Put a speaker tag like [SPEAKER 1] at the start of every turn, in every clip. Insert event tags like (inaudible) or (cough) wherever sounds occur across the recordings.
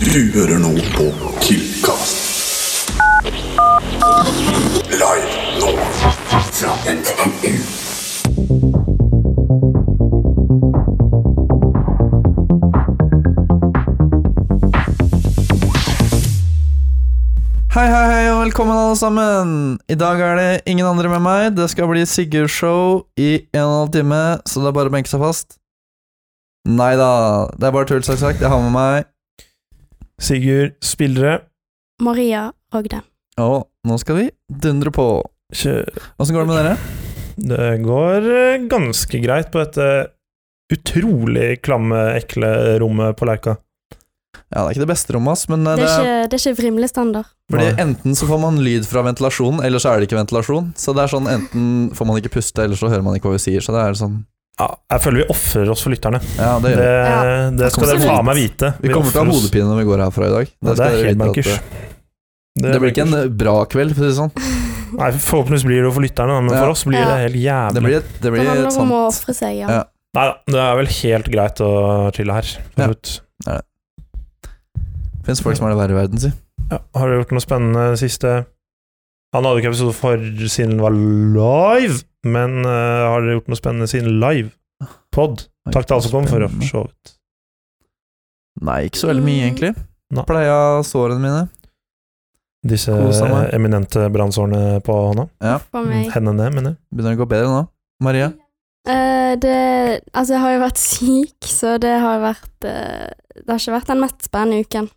[SPEAKER 1] Du hører nå på Killcast. Live nå fra NTNU.
[SPEAKER 2] Hei, hei, hei, og velkommen alle sammen! I dag er det ingen andre med meg. Det skal bli Sigurd-show i en og en halv time, så det er bare å benke seg fast. Nei da, det er bare tull, sagt sagt. Jeg har med meg
[SPEAKER 3] Sigurd spillere.
[SPEAKER 4] Maria Rogde.
[SPEAKER 2] Og nå skal vi dundre på.
[SPEAKER 3] Kjør.
[SPEAKER 2] Åssen går det med dere?
[SPEAKER 3] Det går eh, ganske greit på dette utrolig klamme, ekle rommet på Lerka.
[SPEAKER 2] Ja, det er ikke det beste rommet, ass, men eh,
[SPEAKER 4] Det
[SPEAKER 2] det
[SPEAKER 4] er ikke, det er ikke vrimlestandard.
[SPEAKER 2] fordi
[SPEAKER 3] Nei.
[SPEAKER 2] enten så får man lyd fra ventilasjonen, eller så er det ikke ventilasjon. Så det er sånn enten får man ikke puste, eller så hører man ikke hva vi sier. Så det er sånn
[SPEAKER 3] Ja, jeg føler vi ofrer oss for lytterne.
[SPEAKER 2] Ja, det
[SPEAKER 3] Det,
[SPEAKER 2] gjør vi.
[SPEAKER 3] det skal dere
[SPEAKER 4] Absolutt.
[SPEAKER 3] faen meg vite.
[SPEAKER 2] Vi kommer til å ha
[SPEAKER 3] ofrer oss.
[SPEAKER 2] hodepine når vi går herfra i dag.
[SPEAKER 3] Ja, det
[SPEAKER 2] skal
[SPEAKER 3] er
[SPEAKER 2] dere
[SPEAKER 3] helt
[SPEAKER 2] vite at,
[SPEAKER 3] bankers.
[SPEAKER 2] eh, Det blir ikke en eh, bra kveld, for å si det sånn.
[SPEAKER 3] Nei, Forhåpentligvis blir det jo for lytterne, da, men
[SPEAKER 2] Ja.
[SPEAKER 3] for oss blir
[SPEAKER 4] Ja.
[SPEAKER 3] det helt
[SPEAKER 2] Det
[SPEAKER 3] jævlig.
[SPEAKER 2] blir, et- det
[SPEAKER 4] Det
[SPEAKER 2] blir et
[SPEAKER 4] handler om å
[SPEAKER 2] sånt
[SPEAKER 4] ofre seg,
[SPEAKER 2] Ja.
[SPEAKER 4] ja.
[SPEAKER 3] Nei da, det er vel helt greit å chille her.
[SPEAKER 2] Ja.
[SPEAKER 3] for slutt.
[SPEAKER 2] Fins folk som er det verre i verden, si.
[SPEAKER 3] Ja. Har du gjort noe spennende det siste? Han hadde jo ikke episode for siden den var live, men eh, har dere gjort noe spennende siden live? Pod? Takk til alle som kom for å for så vidt.
[SPEAKER 2] Nei, ikke så veldig mye,
[SPEAKER 4] Mm.
[SPEAKER 2] egentlig.
[SPEAKER 3] Nei.
[SPEAKER 2] Pleia sårene mine.
[SPEAKER 3] Disse
[SPEAKER 2] Kosa meg.
[SPEAKER 3] eminente brannsårene på hånda.
[SPEAKER 4] For meg.
[SPEAKER 3] Hendene, mener jeg.
[SPEAKER 2] Begynner det å gå bedre nå?
[SPEAKER 4] (laughs)
[SPEAKER 2] Maria?
[SPEAKER 4] Eh, det Altså, jeg har jo vært syk, så det har vært eh, Det har ikke vært den mest spennende uken.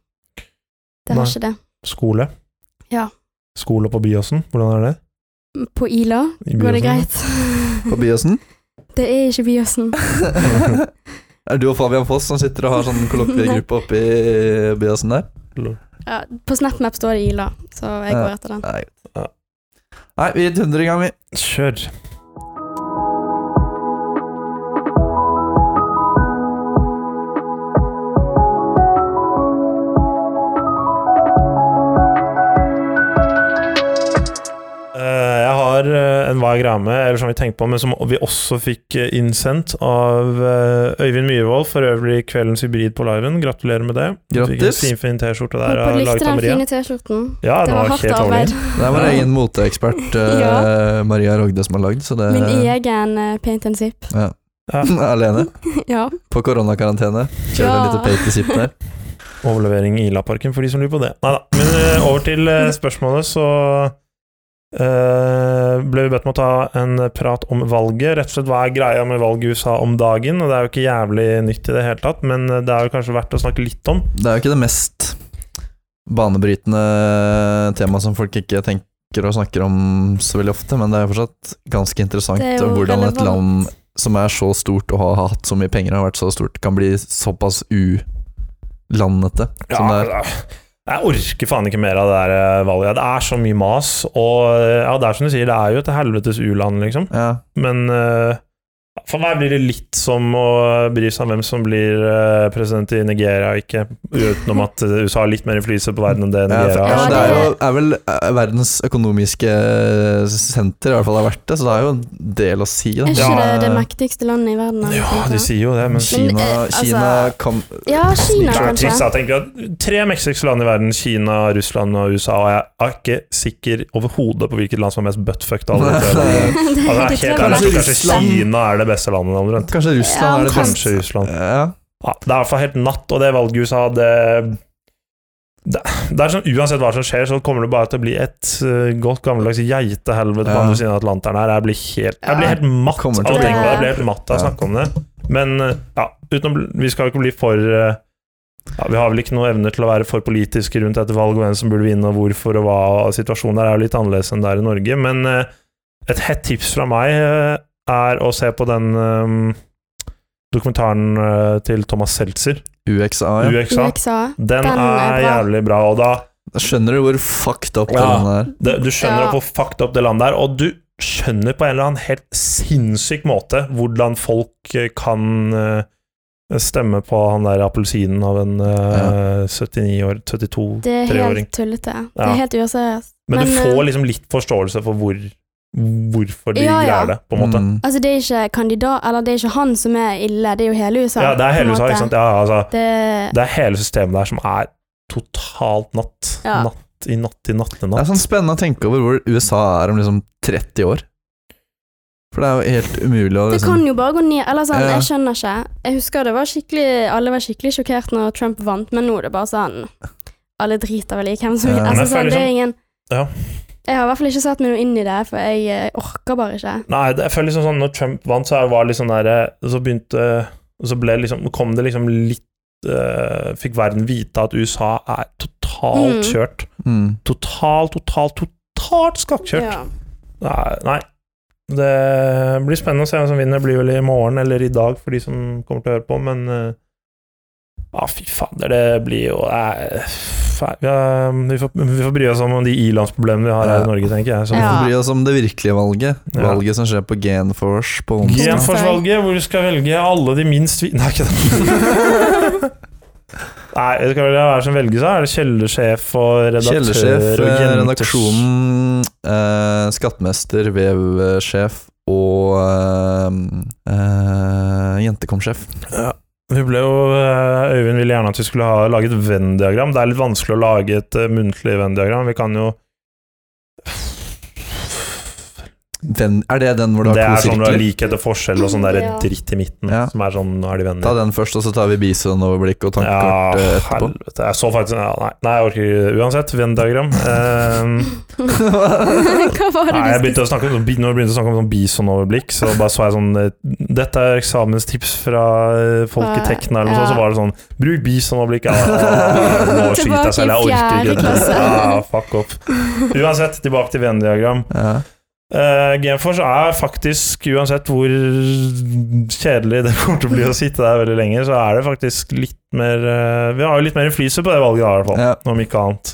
[SPEAKER 4] Det har
[SPEAKER 3] Nei.
[SPEAKER 4] ikke det.
[SPEAKER 3] Skole.
[SPEAKER 4] Ja.
[SPEAKER 3] Skole på Byåsen, hvordan er det?
[SPEAKER 4] På Ila
[SPEAKER 3] I
[SPEAKER 4] går
[SPEAKER 3] Byåsen?
[SPEAKER 4] det greit. (laughs)
[SPEAKER 2] På Byåsen?
[SPEAKER 4] Det er ikke Byåsen.
[SPEAKER 2] (laughs) er du og Fabian Foss som sitter og har sånn kollokviegruppe oppe i Byåsen der?
[SPEAKER 4] Ja, på SnapMap står det Ila, så jeg går
[SPEAKER 2] Ja.
[SPEAKER 4] etter den.
[SPEAKER 2] Nei. Nei, vi dundrer i gang, vi.
[SPEAKER 3] Kjør. Eh, Jeg har eh, en hva er greia med, eller som vi tenkte på, men som vi også fikk eh, innsendt av eh, Øyvind Myhrvold, for øvrig kveldens hybrid på liven. Gratulerer med det. Du fikk en
[SPEAKER 2] Grattis.
[SPEAKER 3] Finfin T-skjorte der
[SPEAKER 4] Håper du
[SPEAKER 3] av
[SPEAKER 4] likte
[SPEAKER 3] laget av
[SPEAKER 4] den
[SPEAKER 3] Maria.
[SPEAKER 4] fine T-skjorten.
[SPEAKER 3] Ja,
[SPEAKER 4] Det
[SPEAKER 3] den
[SPEAKER 4] var
[SPEAKER 3] var
[SPEAKER 4] hardt
[SPEAKER 3] helt overlig.
[SPEAKER 4] arbeid.
[SPEAKER 2] Det er vår
[SPEAKER 3] Ja.
[SPEAKER 2] egen
[SPEAKER 4] (laughs)
[SPEAKER 2] moteekspert eh, Maria Rogde som har lagd, så det
[SPEAKER 4] Min egen eh, paint and zip. (laughs)
[SPEAKER 3] Ja,
[SPEAKER 2] (laughs) Alene.
[SPEAKER 4] ja.
[SPEAKER 2] På koronakarantene. Kjører en
[SPEAKER 4] Ja.
[SPEAKER 2] liten pate zip der.
[SPEAKER 3] Overlevering i Ilaparken for de som lurer på det. Neida. Men eh, over til eh, spørsmålet, så eh, ble vi bedt om å ta en prat om valget. Rett og slett hva er greia med valget i USA om dagen? Og det er jo ikke jævlig nytt i det hele tatt, men eh, det er jo kanskje verdt å snakke litt om.
[SPEAKER 2] Det er jo ikke det mest banebrytende temaet som folk ikke tenker og snakker om så veldig ofte, men det er jo fortsatt ganske interessant
[SPEAKER 4] Det er jo
[SPEAKER 2] hvordan et land
[SPEAKER 4] relevant.
[SPEAKER 2] som er så stort og har hatt så mye penger og har vært så stort, kan bli såpass u-landete som det er.
[SPEAKER 3] Ja, Sånn Jeg orker faen ikke mer av det der eh, valget. Det er så mye mas, og eh, ja, det er som du sier, det er jo et helvetes u-land, liksom.
[SPEAKER 2] Ja,
[SPEAKER 3] Men eh, for meg blir det litt som å bry seg om hvem som blir eh, president i Nigeria og ikke, utenom at eh, USA har litt mer innflytelse på verden enn det
[SPEAKER 2] ja, for, ja,
[SPEAKER 3] Nigeria
[SPEAKER 4] Ja,
[SPEAKER 3] har.
[SPEAKER 2] det er jo
[SPEAKER 4] det-
[SPEAKER 2] er vel eh, verdens økonomiske senter, i hvert fall har vært det, så det er jo en del å si. Da.
[SPEAKER 4] Er ikke
[SPEAKER 3] Ja.
[SPEAKER 4] det det mektigste landet i verden? eller
[SPEAKER 3] Ja,
[SPEAKER 4] noe sånt?
[SPEAKER 3] de sier jo det, men
[SPEAKER 2] Kina,
[SPEAKER 4] Men, eh, altså-
[SPEAKER 2] Kina kan
[SPEAKER 4] Ja, Kina,
[SPEAKER 3] Kanskje.
[SPEAKER 4] kanskje.
[SPEAKER 3] Jeg tenker at Tre meksikanske land i verden, Kina, Russland og USA, og jeg er ikke sikker overhodet på hvilket land som er mest buttfucked av alle de tre.
[SPEAKER 2] Nei.
[SPEAKER 3] Altså, jeg er
[SPEAKER 4] Det
[SPEAKER 3] helt
[SPEAKER 4] tror jeg
[SPEAKER 3] ærlig,
[SPEAKER 4] vel.
[SPEAKER 3] Kanskje
[SPEAKER 2] Russland.
[SPEAKER 3] Kina er det beste landet, omtrent.
[SPEAKER 2] Kanskje
[SPEAKER 4] Ja,
[SPEAKER 2] Russland er det
[SPEAKER 4] omtrent.
[SPEAKER 2] beste.
[SPEAKER 3] Kanskje Russland.
[SPEAKER 2] Ja.
[SPEAKER 3] Ja, det er i hvert fall helt natt, og det valget i USA, det det, det er sånn, Uansett hva som skjer, så kommer det bare til å bli et eh, godt gammeldags geitehelvete på
[SPEAKER 2] Ja.
[SPEAKER 3] andre siden av Atlanteren her. Jeg blir helt, jeg blir helt matt av
[SPEAKER 2] Kommer
[SPEAKER 3] å
[SPEAKER 2] til
[SPEAKER 4] å
[SPEAKER 3] tenke på
[SPEAKER 4] bli-
[SPEAKER 3] det. Jeg blir helt matt av å
[SPEAKER 2] Ja.
[SPEAKER 3] snakke om det. Men eh, ja, utenom, vi skal jo ikke bli for eh, ja, Vi har vel ikke noen evner til å være for politiske rundt dette valget, og hvem som burde vinne, og hvorfor, og hva og situasjonen der er jo litt annerledes enn det er i Norge. Men eh, et hett tips fra meg eh, er å se på den eh, dokumentaren eh, til Thomas Seltzer.
[SPEAKER 2] UXA, ja.
[SPEAKER 3] UXA.
[SPEAKER 4] USA.
[SPEAKER 3] Den,
[SPEAKER 4] Den
[SPEAKER 3] er,
[SPEAKER 4] er bra.
[SPEAKER 3] jævlig bra, og da
[SPEAKER 2] Da skjønner du hvor fucked up
[SPEAKER 3] Ja.
[SPEAKER 2] den er.
[SPEAKER 3] det, Du skjønner
[SPEAKER 4] Ja.
[SPEAKER 3] opp hvor fucked up det landet er, og du skjønner på en eller annen helt sinnssyk måte hvordan folk eh, kan eh, stemme på han der appelsinen av en eh, 79 år, 72
[SPEAKER 4] Det er
[SPEAKER 3] Treåring.
[SPEAKER 4] helt tullete. Det
[SPEAKER 3] Ja.
[SPEAKER 4] er helt useriøst.
[SPEAKER 3] Men, du
[SPEAKER 4] Men,
[SPEAKER 3] får
[SPEAKER 4] eh,
[SPEAKER 3] liksom litt forståelse for hvor, hvorfor de
[SPEAKER 4] Ja, ja.
[SPEAKER 3] greier det, på en måte.
[SPEAKER 2] Mm.
[SPEAKER 4] Altså, det er ikke kandidat Eller det er ikke han som er ille, det er jo hele USA.
[SPEAKER 3] Ja, det er hele
[SPEAKER 4] på en
[SPEAKER 3] USA,
[SPEAKER 4] måte.
[SPEAKER 3] ikke sant? Ja, altså,
[SPEAKER 4] Det,
[SPEAKER 3] det er hele systemet der som er totalt natt.
[SPEAKER 4] Ja.
[SPEAKER 3] Natt i natt i
[SPEAKER 2] Det
[SPEAKER 3] nattenatt.
[SPEAKER 2] er sånn spennende å tenke over hvor USA er om liksom 30 år. For det er jo helt umulig å
[SPEAKER 4] Det
[SPEAKER 2] liksom
[SPEAKER 4] kan jo bare gå ned. Eller sånn,
[SPEAKER 2] Ja.
[SPEAKER 4] jeg skjønner ikke. Jeg husker det var skikkelig Alle var skikkelig sjokkert når Trump vant, men nå er det bare sånn Alle driter vel i hvem som
[SPEAKER 2] Ja.
[SPEAKER 3] Men
[SPEAKER 4] altså,
[SPEAKER 3] jeg
[SPEAKER 4] sånn,
[SPEAKER 3] føler
[SPEAKER 4] Det er
[SPEAKER 3] sånn-
[SPEAKER 4] ingen
[SPEAKER 3] Ja.
[SPEAKER 4] Jeg har i hvert fall ikke satt meg noe inn i det, for jeg eh, orker bare ikke.
[SPEAKER 3] Nei, det, jeg føler liksom sånn Når Trump vant, så jeg var litt sånn der Så begynte Så ble liksom Kom det liksom litt eh, Fikk verden vite at USA er totalt
[SPEAKER 4] Mm.
[SPEAKER 3] kjørt.
[SPEAKER 2] mm.
[SPEAKER 3] Totalt, totalt, totalt skakkjørt.
[SPEAKER 4] Ja. (laughs)
[SPEAKER 3] Nei, nei. Det blir spennende å se hvem som vinner. Det blir vel i morgen eller i dag for de som kommer til å høre på, men eh, Ja, fy fader, det blir jo nei, fa- ja, vi, får, vi får bry oss om de i-landsproblemene vi har her
[SPEAKER 2] Ja.
[SPEAKER 3] i Norge, tenker jeg. Så.
[SPEAKER 2] Vi
[SPEAKER 4] Ja.
[SPEAKER 2] får bry oss om det virkelige valget.
[SPEAKER 3] Ja.
[SPEAKER 2] Valget som skjer på Genforce på onsdag.
[SPEAKER 3] Genforsvalget, hvor du skal velge alle de minst vi... Nei, ikke det. Nei, det skal vel være som velges, da. Er det kjellersjef og redaktør
[SPEAKER 2] Kjellersjef,
[SPEAKER 3] og
[SPEAKER 2] eh,
[SPEAKER 3] jenters-
[SPEAKER 2] redaksjonen, eh, skattmester, vevsjef og eh, eh, jentekomsjef.
[SPEAKER 3] Vi ble jo, eh, Øyvind ville gjerne at vi skulle ha laget Venn-diagram. Det er litt vanskelig å lage et eh, muntlig Venn-diagram. Vi kan jo
[SPEAKER 2] Venn- Er det den hvor du
[SPEAKER 3] Det
[SPEAKER 2] har
[SPEAKER 3] er
[SPEAKER 2] to
[SPEAKER 3] sånn du
[SPEAKER 2] sirkler?
[SPEAKER 3] har likhet og forskjell og sånn der
[SPEAKER 4] Ja.
[SPEAKER 3] dritt i midten.
[SPEAKER 2] Ja.
[SPEAKER 3] Som er sånn, nå er de
[SPEAKER 2] Ta
[SPEAKER 3] venner.
[SPEAKER 2] den først, og så tar vi bisonoverblikk og
[SPEAKER 3] Ja,
[SPEAKER 2] tankekart eh, etterpå.
[SPEAKER 3] helvete. Jeg så faktisk ja, nei, nei, jeg orker ikke. Uansett,
[SPEAKER 2] (laughs)
[SPEAKER 3] Venn-diagram. Eh,
[SPEAKER 4] (laughs) Hva var det
[SPEAKER 3] nei, jeg
[SPEAKER 4] du
[SPEAKER 3] begynte å snakke om, bi- når jeg begynte å snakke om sånn bisonoverblikk, så bare så jeg sånn eh, Dette er eksamenstips fra eh, folk i
[SPEAKER 4] Fra-
[SPEAKER 3] Tekna, eller noe
[SPEAKER 4] ja.
[SPEAKER 3] sånt. Så var det sånn Bruk bisonoverblikk. Ja, nå
[SPEAKER 4] Tilbake
[SPEAKER 3] skyter jeg selv. Jeg
[SPEAKER 4] i
[SPEAKER 3] orker ikke
[SPEAKER 4] fjerde
[SPEAKER 3] dette.
[SPEAKER 4] klasse.
[SPEAKER 3] Ja, fuck off. Uansett, tilbake til Venn-diagram.
[SPEAKER 2] Ja.
[SPEAKER 3] Uh, Genforce er faktisk, uansett hvor kjedelig det kommer til å bli å sitte der veldig lenge, så er det faktisk litt mer eh, Vi har jo litt mer innflytelse på det valget, da, i hvert fall.
[SPEAKER 2] Ja.
[SPEAKER 3] Om ikke annet.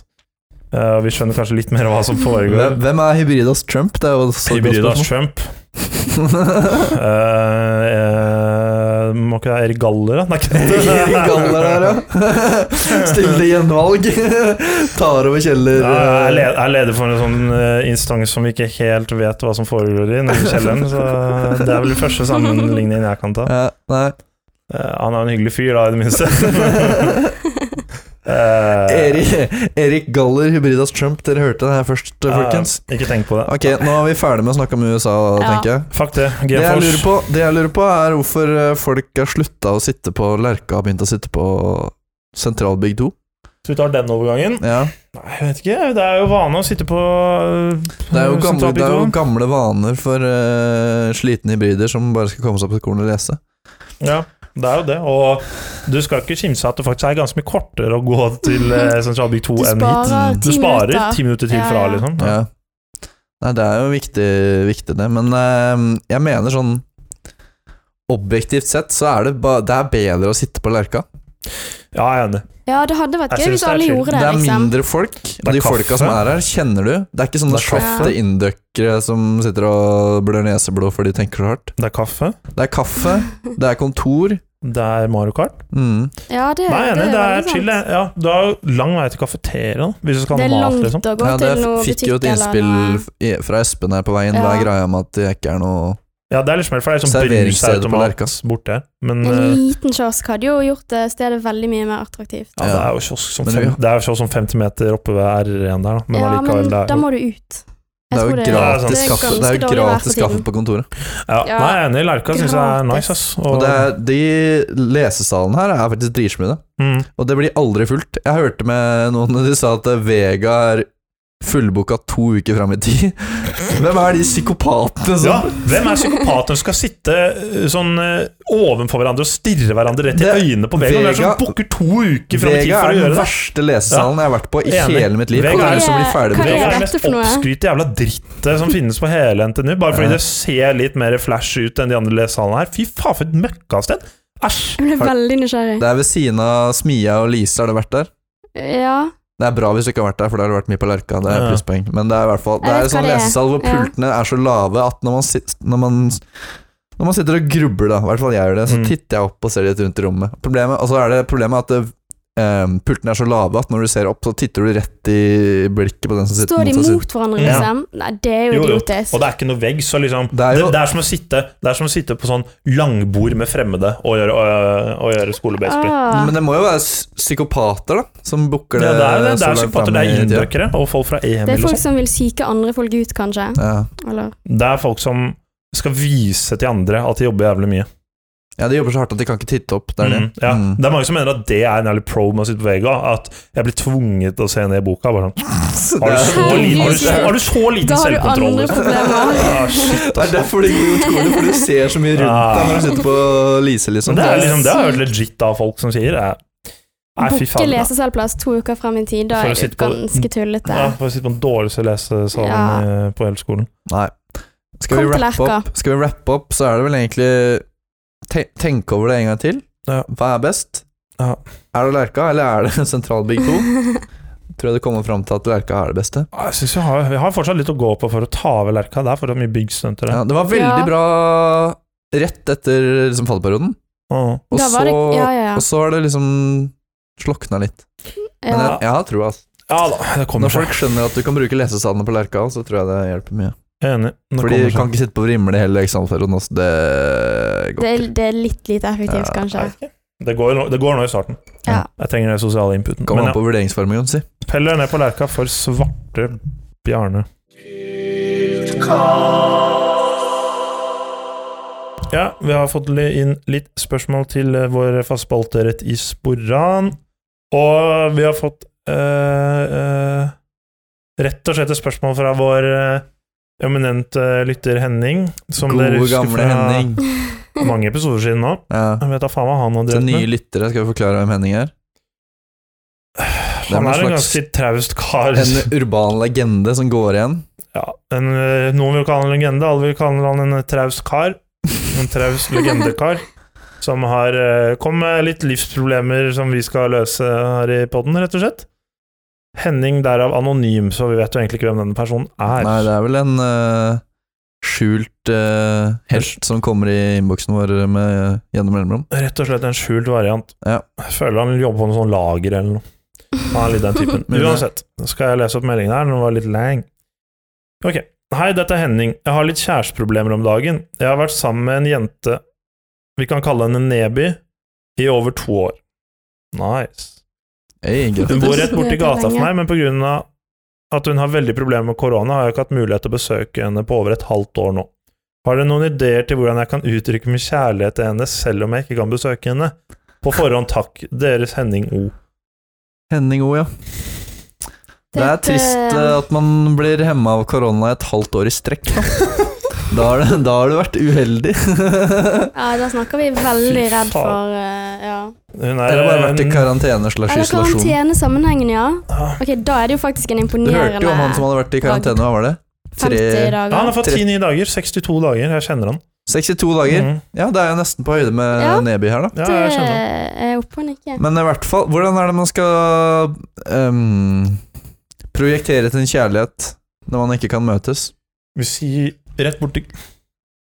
[SPEAKER 3] Eh, og vi skjønner kanskje litt mer hva som
[SPEAKER 2] Hvem
[SPEAKER 3] foregår.
[SPEAKER 2] hvem er hybridas Trump? Det er jo så godt
[SPEAKER 3] Hybridas
[SPEAKER 2] spørsmål.
[SPEAKER 3] Trump. (laughs)
[SPEAKER 2] (laughs)
[SPEAKER 3] Eh, eh, må ikke det være Erik Galler, da? Nei, ikke det.
[SPEAKER 2] (laughs) Galler der,
[SPEAKER 3] (laughs)
[SPEAKER 2] ja. Stille til gjenvalg. (laughs) Tar over Kjeller.
[SPEAKER 3] Ja, jeg er le- jeg er leder for en sånn eh, instans som vi ikke helt vet hva som foregår i, nemlig Kjelleren. Så det er vel den første sammenligningen jeg kan ta.
[SPEAKER 2] Ja,
[SPEAKER 3] (laughs)
[SPEAKER 2] nei.
[SPEAKER 3] Eh, han er en hyggelig fyr, da, i det minste.
[SPEAKER 2] (laughs)
[SPEAKER 3] Eh, Erik,
[SPEAKER 2] Erik, Erik Galler, hybridas Trump. Dere hørte det her først, folkens.
[SPEAKER 3] ikke tenk på det.
[SPEAKER 2] Ok, Nå er vi ferdig med å snakke om USA,
[SPEAKER 4] Ja.
[SPEAKER 2] tenker jeg.
[SPEAKER 3] Fuck det.
[SPEAKER 2] Det jeg, lurer
[SPEAKER 3] GFors.
[SPEAKER 2] på, det jeg lurer på, er hvorfor eh, folk har slutta å sitte på Lerka og begynt å sitte på Sentralbygg 2.
[SPEAKER 3] Så vi tar den overgangen.
[SPEAKER 2] Ja.
[SPEAKER 3] Nei, jeg vet ikke. Det er jo vane å sitte på eh,
[SPEAKER 2] Det, er jo gamle, det er jo
[SPEAKER 3] sentralbygget.
[SPEAKER 2] gamle vaner for eh, slitne hybrider som bare skal komme seg på skolen og lese.
[SPEAKER 3] Ja, det er jo det. Og du skal ikke kimse av at det faktisk er ganske mye kortere å gå til
[SPEAKER 4] (laughs)
[SPEAKER 3] eh, Sentralbygg 2
[SPEAKER 4] Du
[SPEAKER 3] enn hit.
[SPEAKER 4] sparer
[SPEAKER 2] Mm.
[SPEAKER 3] Du
[SPEAKER 4] ti
[SPEAKER 3] sparer
[SPEAKER 4] minutter.
[SPEAKER 3] ti minutter til
[SPEAKER 4] Ja,
[SPEAKER 3] fra,
[SPEAKER 4] ja.
[SPEAKER 3] liksom.
[SPEAKER 2] Ja. Nei, det er jo viktig, viktig det. Men eh, jeg mener sånn Objektivt sett så er det, ba, det er bedre å sitte på Lerka.
[SPEAKER 3] Ja, jeg er enig.
[SPEAKER 4] Ja, det hadde vært
[SPEAKER 3] Jeg
[SPEAKER 4] gøy
[SPEAKER 3] synes
[SPEAKER 4] hvis
[SPEAKER 3] det er
[SPEAKER 4] alle
[SPEAKER 3] chill.
[SPEAKER 4] gjorde
[SPEAKER 2] Det
[SPEAKER 4] det,
[SPEAKER 2] er
[SPEAKER 4] liksom.
[SPEAKER 2] mindre folk, og
[SPEAKER 3] er
[SPEAKER 2] de folka
[SPEAKER 3] kaffe.
[SPEAKER 2] som er her, kjenner du. Det er ikke sånne
[SPEAKER 3] Det er kaffe.
[SPEAKER 2] svarte inndøkkere som sitter og blør neseblod fordi de tenker så hardt.
[SPEAKER 3] Det er kaffe.
[SPEAKER 2] Det er kaffe,
[SPEAKER 4] (laughs)
[SPEAKER 2] det er kontor.
[SPEAKER 3] Det er Mario Kart.
[SPEAKER 2] Mm.
[SPEAKER 4] Ja, det,
[SPEAKER 3] Nei, jeg er enig. Det
[SPEAKER 4] veldig
[SPEAKER 3] er
[SPEAKER 4] sant.
[SPEAKER 3] chill. jeg. Ja, du har jo lang vei til kafeteriaen hvis du skal ha
[SPEAKER 4] Det er
[SPEAKER 3] mat,
[SPEAKER 4] langt
[SPEAKER 3] liksom.
[SPEAKER 4] å gå
[SPEAKER 2] Ja, det
[SPEAKER 4] til noe butikk
[SPEAKER 2] fikk jo et innspill f- i- fra Espen her på veien. Hva er
[SPEAKER 4] Ja.
[SPEAKER 2] greia med at det ikke er noe
[SPEAKER 3] Ja, det er litt smelt, for det er sånn
[SPEAKER 2] Serveringsstedet på
[SPEAKER 3] brusautomat
[SPEAKER 2] Lerka.
[SPEAKER 3] borte her. Men
[SPEAKER 4] En
[SPEAKER 3] eh,
[SPEAKER 4] liten kiosk hadde jo gjort det stedet veldig mye mer attraktivt.
[SPEAKER 3] ja, det er jo kiosk som,
[SPEAKER 2] Men
[SPEAKER 3] fem,
[SPEAKER 2] vi-
[SPEAKER 3] det er jo kiosk som 50 meter oppe ved R1 der, da. Men
[SPEAKER 4] ja,
[SPEAKER 3] allikevel,
[SPEAKER 4] men
[SPEAKER 3] det er
[SPEAKER 4] da
[SPEAKER 3] jo
[SPEAKER 4] må du ut.
[SPEAKER 2] Det er jo gratis
[SPEAKER 3] Det er
[SPEAKER 2] kaffe, det er jo
[SPEAKER 4] ganske dårlig vær
[SPEAKER 2] gratis
[SPEAKER 4] for
[SPEAKER 2] kaffe
[SPEAKER 4] tiden.
[SPEAKER 2] på kontoret.
[SPEAKER 3] ja,
[SPEAKER 4] Ja.
[SPEAKER 3] Nei, jeg er enig. Lerka syns jeg er nice, ass. Og,
[SPEAKER 2] Og det er, de lesesalene her er faktisk dritsmule.
[SPEAKER 3] mm,
[SPEAKER 2] Og det blir aldri fullt. Jeg hørte med noen de sa at Vega er fullbooka to uker fram i tid. (laughs) Hvem er de psykopatene
[SPEAKER 3] ja,
[SPEAKER 2] som
[SPEAKER 3] hvem er psykopater som skal sitte eh, sånn eh, ovenfor hverandre og stirre hverandre rett i
[SPEAKER 2] Det-
[SPEAKER 3] øynene på Vega? Hvem er det
[SPEAKER 2] Vega-
[SPEAKER 3] som booker to uker fram i tid
[SPEAKER 2] Vega er
[SPEAKER 3] for å
[SPEAKER 2] den
[SPEAKER 3] gjøre det?
[SPEAKER 2] verste lesesalen jeg har vært på i
[SPEAKER 3] Enig.
[SPEAKER 2] hele mitt liv.
[SPEAKER 3] Vega
[SPEAKER 2] Vega
[SPEAKER 3] er-
[SPEAKER 2] er som blir ferdig
[SPEAKER 4] Hva
[SPEAKER 2] med
[SPEAKER 4] er
[SPEAKER 3] Vega er det
[SPEAKER 4] dette
[SPEAKER 3] mest
[SPEAKER 4] for noe?
[SPEAKER 3] oppskrytte jævla drittet som finnes på hele NTNU, bare fordi
[SPEAKER 2] Ja.
[SPEAKER 3] det ser litt mer flash ut enn de andre lesesalene her. Fy faen, for et møkkasted! Æsj!
[SPEAKER 4] Jeg ble veldig nysgjerrig.
[SPEAKER 2] Det er ved siden av Smia og Lise, har det vært der?
[SPEAKER 4] Ja,
[SPEAKER 2] Det er bra hvis du ikke har vært der, for da har du vært mye på Lerka. Det er
[SPEAKER 3] Ja.
[SPEAKER 2] plusspoeng. Men det er i hvert fall Det
[SPEAKER 4] Jeg
[SPEAKER 2] er
[SPEAKER 4] vet
[SPEAKER 2] en sånn
[SPEAKER 4] hva det er.
[SPEAKER 2] lesesal hvor
[SPEAKER 4] Ja.
[SPEAKER 2] pultene er så lave at når man, sit, når man, når man sitter og grubler, da, i hvert fall jeg gjør det, så
[SPEAKER 3] Mm.
[SPEAKER 2] titter jeg opp og ser litt rundt i rommet. Problemet, og så er det problemet at det, eh, pultene er så lave at når du ser opp, så titter du rett i blikket på den som sitter
[SPEAKER 4] Står de
[SPEAKER 2] motsatt side.
[SPEAKER 4] mot hverandre,
[SPEAKER 3] Ja.
[SPEAKER 4] liksom? Nei, det er jo
[SPEAKER 3] Jo, jo.
[SPEAKER 4] idiotisk.
[SPEAKER 3] Og det er ikke noe vegg, så liksom
[SPEAKER 2] Det er jo-
[SPEAKER 3] det, det, er som å sitte, det er som å sitte på sånn langbord med fremmede og gjøre, og, og gjøre skolebaseball.
[SPEAKER 4] Ah.
[SPEAKER 2] Men det må jo være s- psykopater, da, som booker
[SPEAKER 3] Det,
[SPEAKER 2] det.
[SPEAKER 3] det er det. Det
[SPEAKER 2] så langt
[SPEAKER 3] er psykopater,
[SPEAKER 2] frem
[SPEAKER 3] det
[SPEAKER 2] i
[SPEAKER 3] er
[SPEAKER 2] tida.
[SPEAKER 3] innrøkkere og folk fra EM
[SPEAKER 4] Det er
[SPEAKER 3] eller
[SPEAKER 4] folk
[SPEAKER 3] sånn.
[SPEAKER 4] som vil psyke andre folk ut, kanskje.
[SPEAKER 2] Ja.
[SPEAKER 4] Eller
[SPEAKER 3] Det er folk som skal vise til andre at de jobber jævlig mye.
[SPEAKER 2] ja, de jobber så hardt at de kan ikke titte opp. Det er det.
[SPEAKER 3] Mm, ja.
[SPEAKER 2] Mm.
[SPEAKER 3] det er mange som mener at det er en jævlig pro med å sitte på Vega. At jeg blir tvunget til å se ned i boka. Bare sånn,
[SPEAKER 2] Så
[SPEAKER 3] har,
[SPEAKER 2] det
[SPEAKER 3] du
[SPEAKER 2] er-
[SPEAKER 3] så liten, har, du, så- har du så
[SPEAKER 4] Da
[SPEAKER 3] liten
[SPEAKER 4] har du
[SPEAKER 3] selvkontroll?
[SPEAKER 4] andre
[SPEAKER 3] Liksom?
[SPEAKER 4] problemer.
[SPEAKER 3] (laughs) Ja, shit,
[SPEAKER 2] Det er derfor de går ut skolen, for du ser så mye rundt deg når du sitter på Lise,
[SPEAKER 3] Men
[SPEAKER 2] liksom.
[SPEAKER 3] det, er
[SPEAKER 4] Det er
[SPEAKER 3] liksom, det er jo
[SPEAKER 4] sykt.
[SPEAKER 3] legit av folk som sier det. Nei, fy
[SPEAKER 4] Bukke
[SPEAKER 3] faen. da.
[SPEAKER 4] leseselvplass to uker frem i tid, da
[SPEAKER 3] For å
[SPEAKER 4] er du
[SPEAKER 3] sitte på-
[SPEAKER 4] ganske tullete.
[SPEAKER 3] Ja, for å sitte på den dårligste lesesalen
[SPEAKER 4] Ja.
[SPEAKER 3] eh, på hele skolen.
[SPEAKER 2] Nei. Skal vi,
[SPEAKER 4] Kom til
[SPEAKER 2] wrappe
[SPEAKER 4] Erka.
[SPEAKER 2] opp, skal vi wrappe opp, så er det vel egentlig te Tenke over det en gang til.
[SPEAKER 3] Ja.
[SPEAKER 2] Hva er best?
[SPEAKER 3] Ja.
[SPEAKER 2] Er det Lerka, eller er det (laughs) Sentralbygg
[SPEAKER 4] (laughs)
[SPEAKER 2] 2? Tror jeg du kommer fram til at Lerka er det beste.
[SPEAKER 3] Ja, Ah, Jeg synes vi har, vi har fortsatt litt å gå på for å ta over Lerka. Det er fortsatt mye byggstunter der.
[SPEAKER 2] Ja, det var veldig
[SPEAKER 4] Ja.
[SPEAKER 2] bra rett etter liksom, fallperioden,
[SPEAKER 3] Åh.
[SPEAKER 2] og,
[SPEAKER 4] Da
[SPEAKER 2] så,
[SPEAKER 4] var det Ja, ja, ja.
[SPEAKER 2] og så har det liksom slokna litt. Men
[SPEAKER 4] ja.
[SPEAKER 2] jeg, jeg har trua. Altså.
[SPEAKER 3] Ja da, det kommer
[SPEAKER 2] Når
[SPEAKER 3] seg.
[SPEAKER 2] folk skjønner at du kan bruke lesesalene på Lerka, så tror jeg det hjelper mye.
[SPEAKER 3] Jeg er enig. Det
[SPEAKER 2] For de
[SPEAKER 3] kommer seg.
[SPEAKER 2] kan ikke sitte på Vrimle hele eksamensperioden også, det går
[SPEAKER 4] Det, er,
[SPEAKER 2] ikke.
[SPEAKER 4] det er litt lite effektivt,
[SPEAKER 2] Ja,
[SPEAKER 4] kanskje.
[SPEAKER 3] jeg vet ikke. Det går, nå- det går nå i starten.
[SPEAKER 4] Ja.
[SPEAKER 3] Jeg trenger den sosiale inputen.
[SPEAKER 2] Kommer
[SPEAKER 3] Men
[SPEAKER 2] an på vurderingsformen, si.
[SPEAKER 3] jeg peller ned på Lerka for svarte Bjarne. Ja, vi har fått li- inn litt spørsmål til eh, vår faste spalte Rett i sporan. Og vi har fått eh, eh, rett og slett et spørsmål fra vår eh, eminente lytter Henning. Som dere
[SPEAKER 2] Gode,
[SPEAKER 3] husker
[SPEAKER 2] gamle
[SPEAKER 3] fra
[SPEAKER 2] Henning.
[SPEAKER 3] mange episoder siden nå.
[SPEAKER 2] Ja.
[SPEAKER 3] Jeg vet da faen hva han har
[SPEAKER 2] Til
[SPEAKER 3] drevet med.
[SPEAKER 2] nye lyttere skal vi forklare hvem Henning er.
[SPEAKER 3] Han
[SPEAKER 2] Det er
[SPEAKER 3] er en
[SPEAKER 2] en slags-
[SPEAKER 3] ganske traust kar.
[SPEAKER 2] En urban legende som går igjen.
[SPEAKER 3] (laughs) Ja, en, eh, noen vil kalle han en legende, alle vil kalle han en traust kar. En traust legendekar. Som har eh, kommet med litt livsproblemer som vi skal løse her i poden, rett og slett. Henning derav anonym, så vi vet jo egentlig ikke hvem denne personen er.
[SPEAKER 2] Nei, det er vel en eh, skjult eh, helt som kommer i innboksen vår med, gjennom mellomrom.
[SPEAKER 3] Rett og slett en skjult variant.
[SPEAKER 2] Ja.
[SPEAKER 3] Jeg føler han jobber på noe sånn lager eller noe. Han er litt den
[SPEAKER 4] (laughs)
[SPEAKER 3] typen.
[SPEAKER 2] (laughs) Mulig.
[SPEAKER 3] Uansett, nå skal jeg lese opp meldingen her, den var litt lang. Ok. Hei, dette er Henning. Jeg har litt kjæresteproblemer om dagen. Jeg har vært sammen med en jente, vi kan kalle henne Neby, i over to år. Nice.
[SPEAKER 2] Hey,
[SPEAKER 3] Hun
[SPEAKER 2] gratulerer.
[SPEAKER 3] bor rett borti
[SPEAKER 4] Det er
[SPEAKER 3] gata for
[SPEAKER 4] lenge.
[SPEAKER 3] meg, men på grunn av at hun har veldig problemer med korona, har jeg ikke hatt mulighet til å besøke henne på over et halvt år nå. Har dere noen ideer til hvordan jeg kan uttrykke min kjærlighet til henne selv om jeg ikke kan besøke henne? På forhånd takk, deres Henning O.
[SPEAKER 2] Henning O, ja. Det er
[SPEAKER 4] Typ,
[SPEAKER 2] trist eh, at man blir hemma av korona et halvt år i (laughs) strekk. Da, da, har, det, da har du vært uheldig. (laughs)
[SPEAKER 4] Ja, da snakker vi veldig
[SPEAKER 3] Fy faen.
[SPEAKER 4] redd for eh, ja.
[SPEAKER 3] Hun er eh,
[SPEAKER 2] Eller bare vært i
[SPEAKER 3] en-
[SPEAKER 2] karantene slash
[SPEAKER 4] Eller
[SPEAKER 2] isolasjon.
[SPEAKER 4] karantenesammenhengen, ja.
[SPEAKER 3] Ja,
[SPEAKER 4] Ok, Da er det jo faktisk en
[SPEAKER 2] Du
[SPEAKER 4] imponerende
[SPEAKER 2] hørte jo om han som hadde vært i karantene, hva var det?
[SPEAKER 4] 50
[SPEAKER 2] Tre,
[SPEAKER 3] han har
[SPEAKER 4] dager.
[SPEAKER 3] fått ti nye dager. 62 dager. Jeg kjenner han.
[SPEAKER 2] 62 dager.
[SPEAKER 3] Mm.
[SPEAKER 2] Ja, det er jo nesten på høyde med
[SPEAKER 4] Ja.
[SPEAKER 2] Neby her, da.
[SPEAKER 3] Ja, jeg
[SPEAKER 4] Det
[SPEAKER 3] kjenner han.
[SPEAKER 4] er oppe og nikker.
[SPEAKER 2] Men i hvert fall, hvordan er det man skal ehm, projektere til en kjærlighet når man ikke kan møtes?
[SPEAKER 3] Vi sier rett borti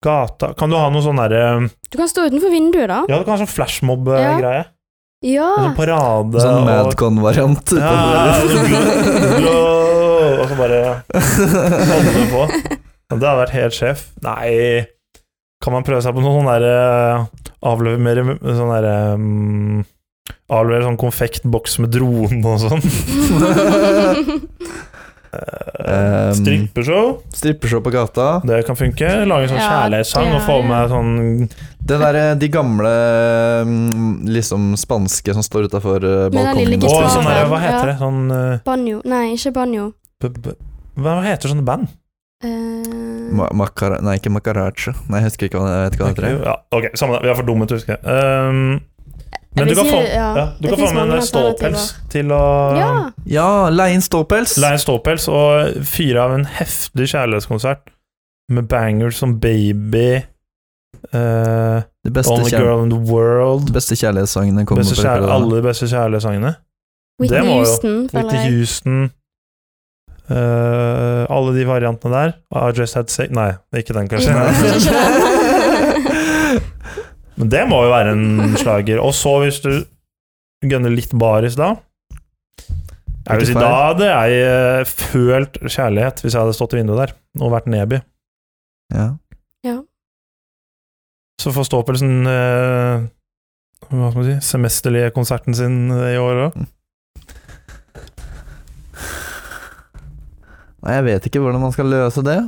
[SPEAKER 3] gata Kan du ha noe sånn derre
[SPEAKER 4] Du kan stå utenfor vinduet, da.
[SPEAKER 3] Ja, du kan ha sånn flashmob-greie.
[SPEAKER 4] Ja. Ah.
[SPEAKER 3] Sånn parade
[SPEAKER 2] Sånn
[SPEAKER 3] og
[SPEAKER 2] Madcon-variant.
[SPEAKER 3] Ja, blå- blå- Og så bare holde på. Ja, Det hadde vært helt sjef. Nei Kan man prøve seg på noe sånn derre Avlevere sånn derre um, Avlevere sånn konfektboks med drone og sånn.
[SPEAKER 2] Altså,
[SPEAKER 3] Eh,
[SPEAKER 2] Um,
[SPEAKER 3] Strippeshow.
[SPEAKER 2] (laughs) Strippeshow på gata.
[SPEAKER 3] Det kan funke. Lage en sånn
[SPEAKER 4] Ja,
[SPEAKER 3] kjærlighetssang
[SPEAKER 4] det
[SPEAKER 3] og få
[SPEAKER 4] er-
[SPEAKER 3] med sånn
[SPEAKER 2] Det der, eh, de gamle mm, liksom spanske som står utafor
[SPEAKER 4] Med den lille
[SPEAKER 2] balkongen.
[SPEAKER 3] Og
[SPEAKER 4] Gitar,
[SPEAKER 2] og
[SPEAKER 3] sånn
[SPEAKER 2] spiser.
[SPEAKER 3] derre
[SPEAKER 4] ja.
[SPEAKER 3] Hva heter det? Sånn eh,
[SPEAKER 4] (laughs) Banjo. Nei, ikke banjo.
[SPEAKER 3] b- b- Hva heter sånne band?
[SPEAKER 4] Eh,
[SPEAKER 2] Ma makara- nei, ikke macaracha. Nei, jeg husker ikke hva det jeg vet ikke hva det heter.
[SPEAKER 3] Ja, ok, samme det. Vi er for dumme til å huske. Um, men
[SPEAKER 4] vil
[SPEAKER 3] du kan
[SPEAKER 4] si-
[SPEAKER 3] få,
[SPEAKER 4] ja,
[SPEAKER 3] ja, du
[SPEAKER 4] det
[SPEAKER 3] kan få
[SPEAKER 4] finnes
[SPEAKER 3] med
[SPEAKER 4] mange
[SPEAKER 3] en ståpels til å
[SPEAKER 4] ja.
[SPEAKER 2] Ja, leie inn ståpels!
[SPEAKER 3] Leie en ståpels og fyre av en heftig kjærlighetskonsert med bangers som Baby, eh,
[SPEAKER 2] De beste,
[SPEAKER 3] Only
[SPEAKER 2] kjær
[SPEAKER 3] Girl in the World
[SPEAKER 2] de beste kjærlighetssangene kommer
[SPEAKER 3] beste
[SPEAKER 2] på
[SPEAKER 3] kjær,
[SPEAKER 2] rekordet.
[SPEAKER 3] Alle de beste kjærlighetssangene. Det
[SPEAKER 4] Whitney
[SPEAKER 3] må jo-
[SPEAKER 4] Houston, føler
[SPEAKER 3] Whitney
[SPEAKER 4] jeg.
[SPEAKER 3] Houston eh, Alle de variantene der. I Just Had Sex Nei, ikke den, kanskje.
[SPEAKER 4] Nei. (laughs)
[SPEAKER 2] Nei.
[SPEAKER 3] Men det må jo være en slager. Og så, hvis du gønne litt baris da. Jeg vil si,
[SPEAKER 2] Ikke feil.
[SPEAKER 3] da hadde jeg eh, følt kjærlighet hvis jeg hadde stått i vinduet der og vært Neby.
[SPEAKER 2] Ja.
[SPEAKER 3] Så får Ståpelsen eh, hva skal man si, semesterlige konserten sin eh, i år òg.
[SPEAKER 2] Nei, jeg vet ikke hvordan man skal løse det.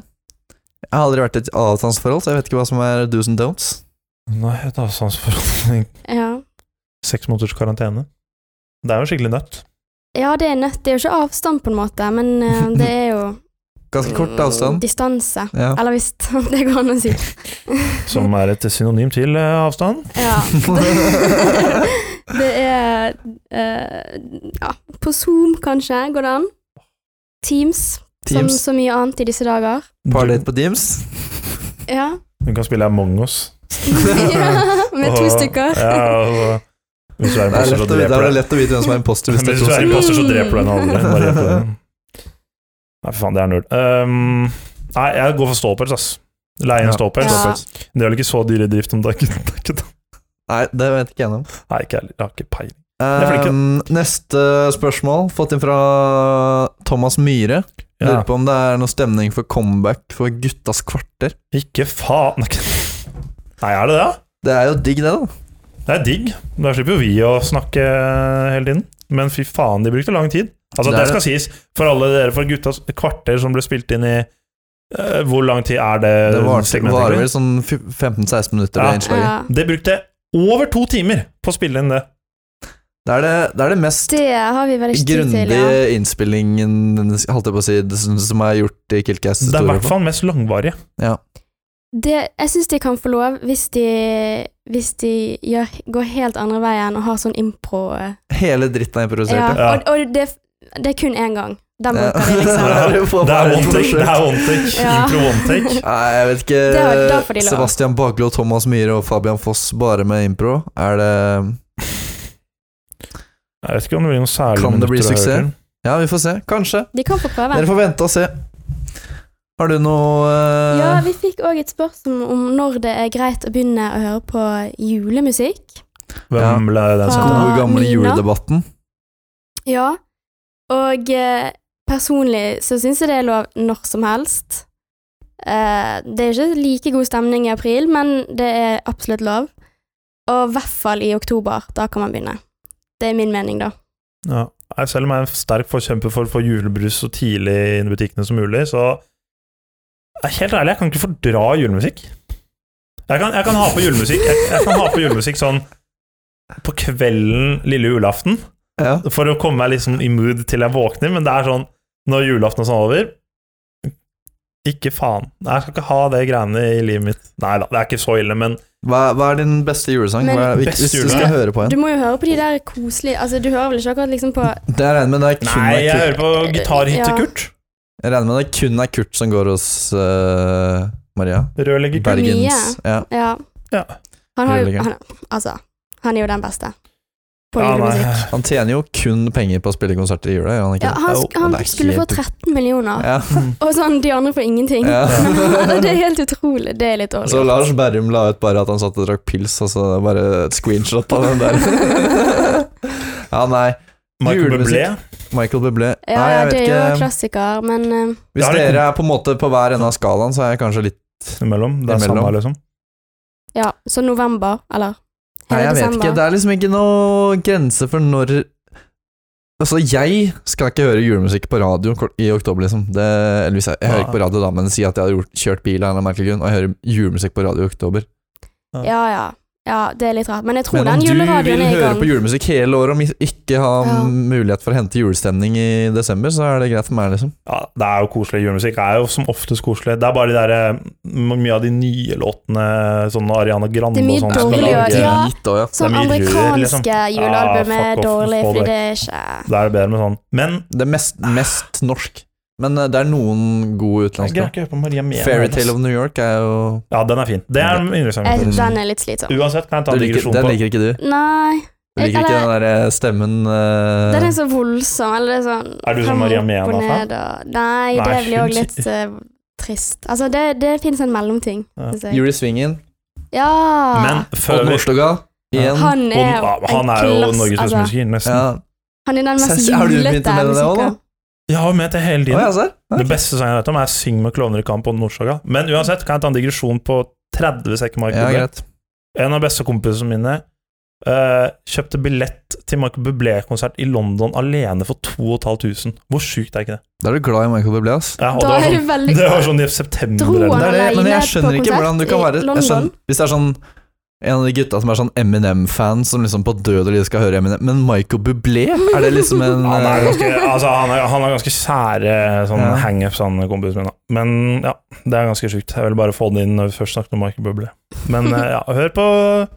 [SPEAKER 2] Jeg har aldri vært i et avstandsforhold, så jeg vet ikke hva som er do's and don'ts.
[SPEAKER 3] Nei, et avstandsforhold.
[SPEAKER 4] Ja.
[SPEAKER 3] Seks måneders karantene. Det er jo skikkelig nødt.
[SPEAKER 4] ja, det er nødt. Det er jo ikke avstand, på en måte, men
[SPEAKER 3] (laughs)
[SPEAKER 4] eh, det er jo
[SPEAKER 2] Ganske kort
[SPEAKER 4] mm,
[SPEAKER 2] avstand.
[SPEAKER 4] Distanse.
[SPEAKER 2] Ja.
[SPEAKER 4] Eller hvis (laughs) det går an å si.
[SPEAKER 3] Som er et synonym til eh, avstand.
[SPEAKER 4] (laughs) Ja. (laughs) Det, det er eh, Ja, på Zoom, kanskje, går det an. Teams, som
[SPEAKER 2] Teams.
[SPEAKER 4] så mye annet i disse dager.
[SPEAKER 2] Partydate på Teams.
[SPEAKER 4] Ja. (laughs)
[SPEAKER 3] Du kan spille Among us.
[SPEAKER 4] ja med to
[SPEAKER 3] Og-
[SPEAKER 4] stykker.
[SPEAKER 3] Ja, og, hvis du er
[SPEAKER 2] Det
[SPEAKER 3] en
[SPEAKER 2] er
[SPEAKER 3] passer,
[SPEAKER 2] lett
[SPEAKER 3] så
[SPEAKER 2] å vite, det
[SPEAKER 3] dreper
[SPEAKER 2] er
[SPEAKER 3] du
[SPEAKER 2] lett å vite hvem som er imposter. Hvis det
[SPEAKER 3] Hvis
[SPEAKER 2] er
[SPEAKER 3] du er en
[SPEAKER 2] to
[SPEAKER 3] passer, så
[SPEAKER 4] Mm.
[SPEAKER 3] dreper du den andre. Bare gjør det. (laughs) Nei, for faen, det er nerd. Um, nei, jeg går for ståpels, ass. Leie en
[SPEAKER 2] Ja.
[SPEAKER 3] ståpels.
[SPEAKER 4] Ja.
[SPEAKER 3] Det er vel ikke så dyr i drift om dagen? Det er ikke (laughs) det.
[SPEAKER 2] Nei, det vet ikke jeg noe om.
[SPEAKER 3] Nei, ikke heller. Jeg har ikke peiling. flink, ja.
[SPEAKER 2] Ehm, neste spørsmål, fått inn fra Thomas Myhre.
[SPEAKER 3] Ja.
[SPEAKER 2] Lurer på om det er noe stemning for comeback for guttas kvarter.
[SPEAKER 3] Ikke faen ikke- Nei, er det det? da?
[SPEAKER 2] Det er jo digg, det, da.
[SPEAKER 3] Det er digg. Da slipper jo vi å snakke hele tiden. Men fy faen, de brukte lang tid. Altså,
[SPEAKER 2] Det
[SPEAKER 3] det,
[SPEAKER 2] er
[SPEAKER 3] skal sies, for alle dere for guttas kvarter som ble spilt inn i eh, Hvor lang tid er det?
[SPEAKER 2] Det varte-
[SPEAKER 3] segmentet,
[SPEAKER 2] varer
[SPEAKER 3] egentlig?
[SPEAKER 2] vel sånn fy- 15-16 minutter,
[SPEAKER 3] Ja.
[SPEAKER 2] det innslaget.
[SPEAKER 4] Ja.
[SPEAKER 3] Det brukte over to timer på å spille inn det.
[SPEAKER 2] Det er det, det, er det mest
[SPEAKER 4] Det har vi vel ikke tid til,
[SPEAKER 2] grundige
[SPEAKER 4] ja.
[SPEAKER 2] innspillingen holdt jeg på å si, det som, som er gjort i Killcast.
[SPEAKER 3] Det er i hvert fall mest langvarige.
[SPEAKER 4] Det, jeg syns de kan få lov hvis de, hvis de gjør, går helt andre veien og har sånn impro. eh.
[SPEAKER 2] Hele dritten er improvisert.
[SPEAKER 4] Ja.
[SPEAKER 2] Ja.
[SPEAKER 3] Ja.
[SPEAKER 4] Og, og det, det er kun én gang. Den
[SPEAKER 2] Ja.
[SPEAKER 4] bruker de,
[SPEAKER 2] (laughs)
[SPEAKER 4] liksom.
[SPEAKER 2] Det er jo bare
[SPEAKER 3] Det er
[SPEAKER 2] et
[SPEAKER 3] one take. Det er one take.
[SPEAKER 4] Ja.
[SPEAKER 3] Impro one take.
[SPEAKER 2] Nei, jeg vet
[SPEAKER 4] Det har- da får
[SPEAKER 2] ikke
[SPEAKER 4] de lov.
[SPEAKER 2] Sebastian Baglo, Thomas Myhre og Fabian Foss bare med impro. Er det
[SPEAKER 3] Jeg vet ikke om det blir noe særlig
[SPEAKER 2] Kan det bli
[SPEAKER 3] minutter å
[SPEAKER 2] suksess?
[SPEAKER 3] høre til.
[SPEAKER 2] Ja, vi får se. Kanskje.
[SPEAKER 4] De kan få prøve.
[SPEAKER 2] Dere får vente og se. Har du noe eh,
[SPEAKER 4] Ja, vi fikk òg et spørsmål om når det er greit å begynne å høre på julemusikk.
[SPEAKER 2] Ja.
[SPEAKER 3] Hvem ble den
[SPEAKER 2] Den
[SPEAKER 3] sendt?
[SPEAKER 4] Ah.
[SPEAKER 2] altså, gode gamle
[SPEAKER 4] Nina?
[SPEAKER 2] juledebatten.
[SPEAKER 4] Ja. Og eh, personlig så syns jeg det er lov når som helst. Eh, det er ikke like god stemning i april, men det er absolutt lov. Og i hvert fall i oktober. Da kan man begynne. Det er min mening, da.
[SPEAKER 3] Ja. Jeg Selv om jeg er en sterk forkjemper for å få julebrus så tidlig inn i butikkene som mulig, så Nei, Helt ærlig, jeg kan ikke fordra julemusikk. Jeg kan, jeg kan ha på julemusikk jeg, jeg kan ha på julemusikk sånn på kvelden lille julaften,
[SPEAKER 2] Ja.
[SPEAKER 3] for å komme meg liksom i mood til jeg våkner, men det er sånn når julaften er sånn over Ikke faen. Nei, Jeg skal ikke ha det greiene i livet mitt. Nei da, det er ikke så ille, men
[SPEAKER 2] Hva, hva er din beste julesang?
[SPEAKER 4] Men-
[SPEAKER 2] hva er, hvis,
[SPEAKER 3] Beste
[SPEAKER 2] hvis du
[SPEAKER 3] jule-
[SPEAKER 2] skal høre på en.
[SPEAKER 4] Du må jo høre på de der koselige Altså, du hører vel ikke akkurat liksom på
[SPEAKER 2] Det jeg regner med det er kun
[SPEAKER 3] Nei, jeg
[SPEAKER 2] er Kurt.
[SPEAKER 3] hører på gitarhit til
[SPEAKER 4] Ja.
[SPEAKER 3] Kurt.
[SPEAKER 2] Jeg regner med det kun er Kurt som går hos eh, Maria.
[SPEAKER 3] Rødlegger Kurt.
[SPEAKER 2] Bergens. Ja.
[SPEAKER 4] Ja.
[SPEAKER 3] Ja.
[SPEAKER 4] Han har jo
[SPEAKER 2] Julelegende.
[SPEAKER 4] han, Altså, han er jo den beste på
[SPEAKER 3] Ja, nei.
[SPEAKER 4] julemusikk.
[SPEAKER 2] Han tjener jo kun penger på å spille konserter i jula, gjør han ikke?
[SPEAKER 4] Ja, han
[SPEAKER 2] Jo,
[SPEAKER 4] sk han
[SPEAKER 2] det er
[SPEAKER 4] skulle få
[SPEAKER 2] helt-
[SPEAKER 4] 13 millioner,
[SPEAKER 2] Ja.
[SPEAKER 3] Mm.
[SPEAKER 4] og sånn de andre får ingenting.
[SPEAKER 2] Ja.
[SPEAKER 4] Men (laughs) det er helt utrolig. Det er litt dårlig.
[SPEAKER 2] Så Altså, Lars Berrum la ut bare at han satt og drakk pils, og så bare et screenshot av den der.
[SPEAKER 3] (laughs)
[SPEAKER 2] ja, nei.
[SPEAKER 3] (laughs) Michael
[SPEAKER 2] Julemusikk.
[SPEAKER 3] Bublé.
[SPEAKER 2] Michael Bublé.
[SPEAKER 4] Ja,
[SPEAKER 2] nei,
[SPEAKER 4] ja,
[SPEAKER 2] jeg
[SPEAKER 4] det
[SPEAKER 2] vet
[SPEAKER 4] er jo
[SPEAKER 2] ikke.
[SPEAKER 4] klassiker, men eh,
[SPEAKER 2] Hvis
[SPEAKER 3] Ja, det-
[SPEAKER 2] dere er på en måte på hver ende av skalaen, så er jeg kanskje litt
[SPEAKER 3] Imellom. Det er
[SPEAKER 2] Imellom.
[SPEAKER 3] samme, liksom.
[SPEAKER 4] ja, så november, eller
[SPEAKER 2] Nei,
[SPEAKER 4] hele
[SPEAKER 2] jeg vet
[SPEAKER 4] desember.
[SPEAKER 2] ikke. Det er liksom ikke noe grense for når Altså, jeg skal ikke høre julemusikk på radio kort- i oktober, liksom. Det, eller hvis jeg, jeg hører ikke på radio da, men si at jeg har gjort, kjørt bil av en eller annen merkelig grunn, og jeg hører julemusikk på radio i oktober.
[SPEAKER 4] Ja, ja. Ja, det er litt rart. Men jeg tror
[SPEAKER 2] Men om
[SPEAKER 4] den
[SPEAKER 2] du vil
[SPEAKER 4] juleradioen er i
[SPEAKER 2] høre
[SPEAKER 4] gang.
[SPEAKER 2] på julemusikk hele året og mis- ikke ha
[SPEAKER 4] Ja.
[SPEAKER 2] mulighet for å hente julestemning i desember, så er det greit for meg, liksom.
[SPEAKER 3] Ja, det er jo koselig. Julemusikk er jo som oftest koselig. Det er bare de der, eh, m- mye av de nye låtene, sånn Ariana Grande
[SPEAKER 4] Det er mye
[SPEAKER 3] og sånn. som
[SPEAKER 4] dårlig
[SPEAKER 3] er laget-
[SPEAKER 4] å- ja.
[SPEAKER 2] Drit også, ja.
[SPEAKER 3] det
[SPEAKER 4] Sånn
[SPEAKER 3] er mye
[SPEAKER 4] amerikanske
[SPEAKER 3] rør, liksom.
[SPEAKER 4] julealbum
[SPEAKER 3] Ah,
[SPEAKER 4] er
[SPEAKER 3] fuck off,
[SPEAKER 4] dårlig,
[SPEAKER 3] få
[SPEAKER 4] fordi
[SPEAKER 3] det.
[SPEAKER 4] det er ikke
[SPEAKER 3] Da er det bedre med sånn. Men
[SPEAKER 2] Det er mest, mest norsk. Men eh, det er noen gode
[SPEAKER 3] jeg
[SPEAKER 2] utenlandske.
[SPEAKER 3] greier ikke å høre på Maria Mena.
[SPEAKER 2] Fairytale of New York er jo
[SPEAKER 3] Ja, den er fin. Det er
[SPEAKER 4] jeg,
[SPEAKER 3] yndlingssangen.
[SPEAKER 4] Den er litt slitsom.
[SPEAKER 3] Uansett kan jeg ta
[SPEAKER 2] du
[SPEAKER 3] en
[SPEAKER 2] liker,
[SPEAKER 3] digresjon
[SPEAKER 2] Den
[SPEAKER 3] på
[SPEAKER 2] sånn- liker ikke du?
[SPEAKER 4] Nei,
[SPEAKER 2] Du liker ikke den
[SPEAKER 4] Eller-
[SPEAKER 2] der eh, stemmen eh,
[SPEAKER 4] den er sånn- så voldsom. Eller det er sånn
[SPEAKER 3] Er du sånn
[SPEAKER 4] fem
[SPEAKER 3] Maria
[SPEAKER 4] opp og
[SPEAKER 3] Mena-fan?
[SPEAKER 4] ned og-
[SPEAKER 3] Nei,
[SPEAKER 4] Nei, det blir
[SPEAKER 3] hun
[SPEAKER 4] òg litt eh, trist. Altså, det, det fins en mellomting,
[SPEAKER 3] Ja.
[SPEAKER 4] syns jeg.
[SPEAKER 2] Juri Svingen,
[SPEAKER 4] Ja!
[SPEAKER 3] Men før
[SPEAKER 2] Odd
[SPEAKER 3] vi
[SPEAKER 2] Nordstoga,
[SPEAKER 3] Ja.
[SPEAKER 2] Igjen.
[SPEAKER 4] Han
[SPEAKER 3] Og
[SPEAKER 4] er,
[SPEAKER 3] ah, han
[SPEAKER 4] Ah.
[SPEAKER 3] er
[SPEAKER 4] en
[SPEAKER 3] jo
[SPEAKER 4] klass-
[SPEAKER 3] Norges beste
[SPEAKER 4] altså,
[SPEAKER 3] musiker, nesten.
[SPEAKER 2] Ja.
[SPEAKER 3] Ja.
[SPEAKER 4] Han er den mest
[SPEAKER 2] Sessi, har du begynt med
[SPEAKER 4] julete
[SPEAKER 2] det også, da?
[SPEAKER 4] musikeren.
[SPEAKER 3] Jeg har ment det hele
[SPEAKER 2] Å,
[SPEAKER 3] tiden.
[SPEAKER 2] ja, ser. Ja.
[SPEAKER 3] Det beste sangen jeg vet om, er 'Syng med klovner i kamp' og 'Nordsaga'. Men uansett kan jeg ta en digresjon på 30 sekker Mark
[SPEAKER 2] ja,
[SPEAKER 3] Bublé.
[SPEAKER 2] greit.
[SPEAKER 3] en av bestekompisene mine eh, kjøpte billett til Mark Bublé-konsert i London alene for 2500. Hvor sjukt er ikke det?
[SPEAKER 2] Da er du glad i Michael Bublé, ass.
[SPEAKER 3] Ja, og
[SPEAKER 4] Da
[SPEAKER 3] det, var
[SPEAKER 4] er du
[SPEAKER 3] sånn, (laughs)
[SPEAKER 4] veldig
[SPEAKER 3] det var sånn i september
[SPEAKER 4] Dro
[SPEAKER 3] eller
[SPEAKER 4] han?
[SPEAKER 3] noe.
[SPEAKER 2] Det er det, men
[SPEAKER 4] alene
[SPEAKER 2] jeg skjønner
[SPEAKER 4] på
[SPEAKER 2] ikke hvordan du kan
[SPEAKER 4] konsert
[SPEAKER 2] være
[SPEAKER 4] i
[SPEAKER 2] jeg skjønner,
[SPEAKER 4] London.
[SPEAKER 2] Hvis det er sånn en av de gutta som er sånn Eminem-fan, som liksom på død og liv skal høre Eminem Men Michael Bublé, er det liksom
[SPEAKER 4] (laughs)
[SPEAKER 2] en
[SPEAKER 3] Han er
[SPEAKER 2] eh,
[SPEAKER 3] ganske, altså, han er, han har ganske sære sånn
[SPEAKER 2] Ja.
[SPEAKER 3] hangups, han kompisen min. da. Men ja, det er ganske sjukt. Jeg ville bare få det inn når vi først snakket om Michael Bublé. Men eh, ja, hør på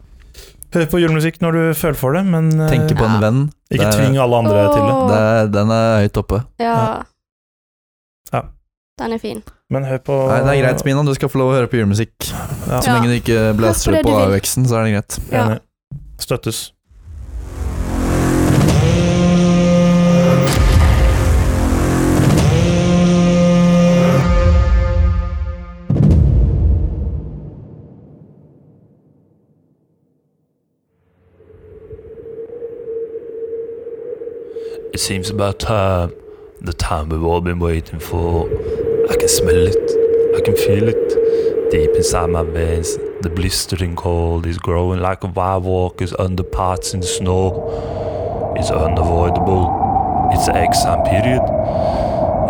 [SPEAKER 3] Hør på julemusikk når du føler for det, men eh,
[SPEAKER 2] Tenker på en
[SPEAKER 4] Ja.
[SPEAKER 2] venn?
[SPEAKER 3] ikke
[SPEAKER 2] det er-
[SPEAKER 3] tving alle andre til det.
[SPEAKER 4] Åh,
[SPEAKER 2] Det er, den er høyt oppe.
[SPEAKER 4] ja.
[SPEAKER 3] Ja.
[SPEAKER 4] Den er fin.
[SPEAKER 3] Men hør på
[SPEAKER 2] Nei, det er greit, Mina. Du skal få lov å høre på julemusikk.
[SPEAKER 3] Ja.
[SPEAKER 2] Så lenge du ikke blaster
[SPEAKER 4] Hør
[SPEAKER 2] opp
[SPEAKER 4] på det
[SPEAKER 2] på
[SPEAKER 4] du vil.
[SPEAKER 2] AUX-en, så er det greit.
[SPEAKER 4] Ja.
[SPEAKER 3] Enig. Støttes.
[SPEAKER 5] It seems about time. The time we've all been waiting for. I can smell it. I can feel it. Deep inside my veins, the blistering cold is growing like a wild walker's under parts in the snow. It's unavoidable. It's the exam period.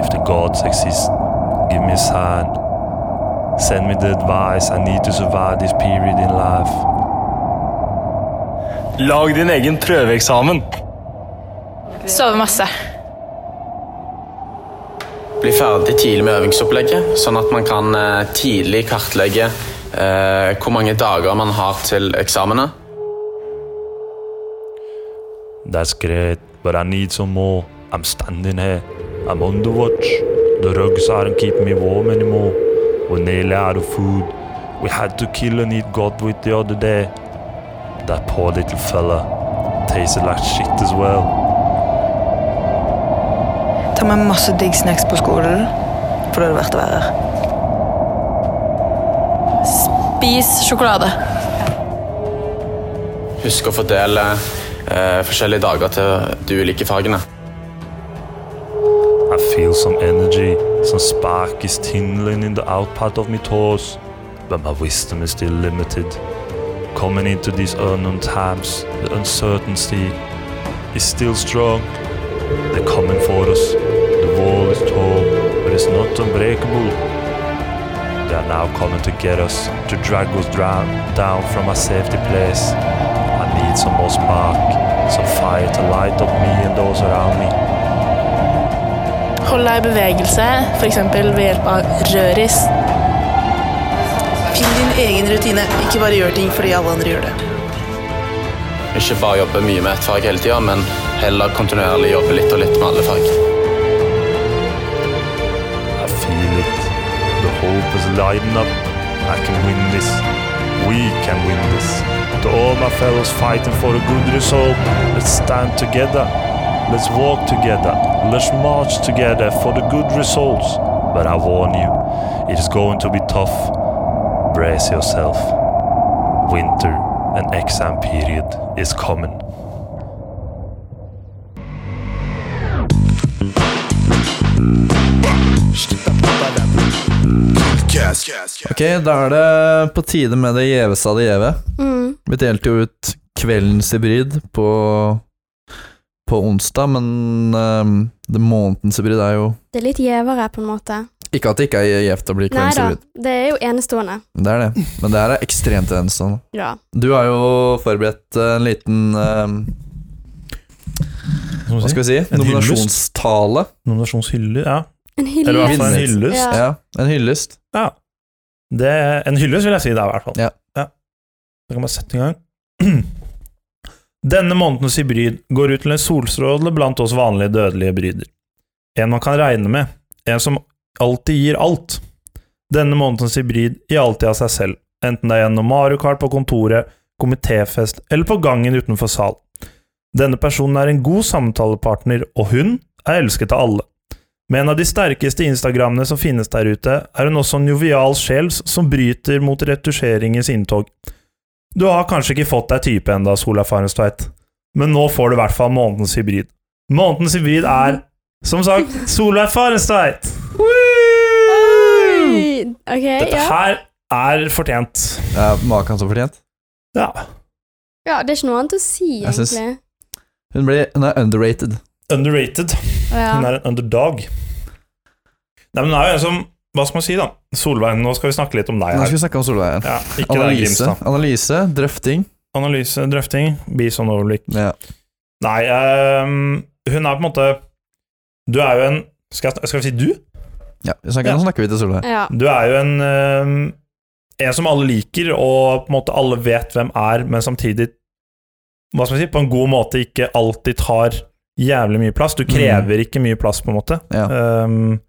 [SPEAKER 5] If the gods exist, give me a sign. Send me the advice I need to survive this period in life.
[SPEAKER 6] Lag din egen prøveeksamen.
[SPEAKER 7] Sove masse.
[SPEAKER 8] Bli ferdig tidlig med øvingsopplegget, sånn at man kan eh, tidlig kartlegge eh, hvor mange dager man har til eksamene.
[SPEAKER 5] That's great, but I need some more. I'm standing here. I'm on the watch. The rugs aren't keeping me warm anymore. We're nearly out of food. We had to kill and eat Godwit the other day. That poor little fella tasted like shit as well.
[SPEAKER 9] Ta med masse digg snacks på skolen, for det er det verdt å være her.
[SPEAKER 7] Spis sjokolade.
[SPEAKER 8] Husk å fordele eh, forskjellige dager til de ulike fagene.
[SPEAKER 5] I feel some energy, some spark is tingling in the out part of my toes, but my wisdom is still limited. Coming into these unknown times, the uncertainty is still strong. They're coming for us. The wall is tall, but it's not unbreakable. They are now coming to get us, to drag us drown, down from our safety place. I need some more spark, some fire to light up me and those around me.
[SPEAKER 7] Hold deg i bevegelse, f.eks. ved hjelp av røris.
[SPEAKER 9] Finn din egen rutine, ikke bare gjør ting fordi alle andre gjør det.
[SPEAKER 8] Ikke bare jobbe mye med ett fag hele tida, men heller kontinuerlig jobbe litt og litt med alle fag.
[SPEAKER 5] I feel it. The hope is lighting up. I can win this. We can win this. To all my fellows fighting for a good result, let's stand together. Let's walk together. Let's march together for the good results. But I warn you, it is going to be tough. Brace yourself. Winter and exam period is coming.
[SPEAKER 2] Ok, da er det på tide med det gjeveste av det gjeve.
[SPEAKER 4] Mm.
[SPEAKER 2] Vi delte jo ut kveldens hybrid på, på onsdag, men ehm, det månedens hybrid er jo
[SPEAKER 4] Det er litt gjevere, på en måte.
[SPEAKER 2] Ikke at det ikke er gjevt å bli
[SPEAKER 4] Nei
[SPEAKER 2] kveldens
[SPEAKER 4] da,
[SPEAKER 2] hybrid.
[SPEAKER 4] det er jo enestående.
[SPEAKER 2] Det er det. Men det her er ekstremt enestående.
[SPEAKER 4] Ja.
[SPEAKER 2] Du har jo forberedt eh, en liten ehm,
[SPEAKER 3] Som
[SPEAKER 2] Hva
[SPEAKER 3] sier.
[SPEAKER 2] skal vi si?
[SPEAKER 3] En hyllest.
[SPEAKER 2] Nominasjonstale.
[SPEAKER 3] Nominasjonshyller, ja.
[SPEAKER 4] En
[SPEAKER 3] Eller i
[SPEAKER 4] hyllest.
[SPEAKER 3] hvert fall en hyllest.
[SPEAKER 4] Ja.
[SPEAKER 2] Ja, en hyllest.
[SPEAKER 3] Ja. Det, en hyllest vil jeg si det er, i hvert fall.
[SPEAKER 2] Ja.
[SPEAKER 3] Da kan man sette i gang. (clears throat) Denne månedens hybrid går ut til en solstråle blant oss vanlige dødelige bryder. En man kan regne med. En som alltid gir alt. Denne månedens hybrid gir alltid av seg selv, enten det er gjennom Mario Kart på kontoret, komitéfest eller på gangen utenfor sal. Denne personen er en god samtalepartner, og hun er elsket av alle. Med en av de sterkeste Instagrammene som finnes der ute, er hun også en jovial sjel som bryter mot retusjeringens inntog. Du har kanskje ikke fått deg type enda, Sola Farenstveit, men nå får du i hvert fall månedens hybrid. Månedens hybrid er, som sagt, Sola Farenstveit!
[SPEAKER 4] Oi! OK,
[SPEAKER 3] Dette
[SPEAKER 4] ja.
[SPEAKER 3] her er fortjent.
[SPEAKER 2] Ja, Maken så fortjent.
[SPEAKER 3] Ja.
[SPEAKER 4] ja. Det er ikke noe annet å si,
[SPEAKER 2] Jeg syns-
[SPEAKER 4] egentlig.
[SPEAKER 2] Hun, blir, hun er underrated.
[SPEAKER 3] Underrated. Hun
[SPEAKER 4] Ja.
[SPEAKER 3] er en underdog. Nei, men hun er jo en som Hva skal man si, da? Solveig, nå skal vi snakke litt om deg
[SPEAKER 2] Nå
[SPEAKER 3] her.
[SPEAKER 2] skal vi snakke om Solveig.
[SPEAKER 3] Ja, ikke deg,
[SPEAKER 2] Analyse,
[SPEAKER 3] Grimstad.
[SPEAKER 2] analyse, drøfting.
[SPEAKER 3] Analyse, drøfting, bli sånn overblikk.
[SPEAKER 2] Ja.
[SPEAKER 3] Nei, ehm, hun er på en måte Du er jo en Skal, jeg, skal vi si du?
[SPEAKER 2] Ja, vi snakker,
[SPEAKER 3] Ja.
[SPEAKER 2] Nå snakker vi til Solveig.
[SPEAKER 4] ja.
[SPEAKER 3] Du er jo en ehm, En som alle liker, og på en måte alle vet hvem er, men samtidig Hva skal vi si? På en god måte ikke alltid tar jævlig mye plass. Du krever ikke mye plass, på en måte.
[SPEAKER 2] Ja.
[SPEAKER 3] Ehm,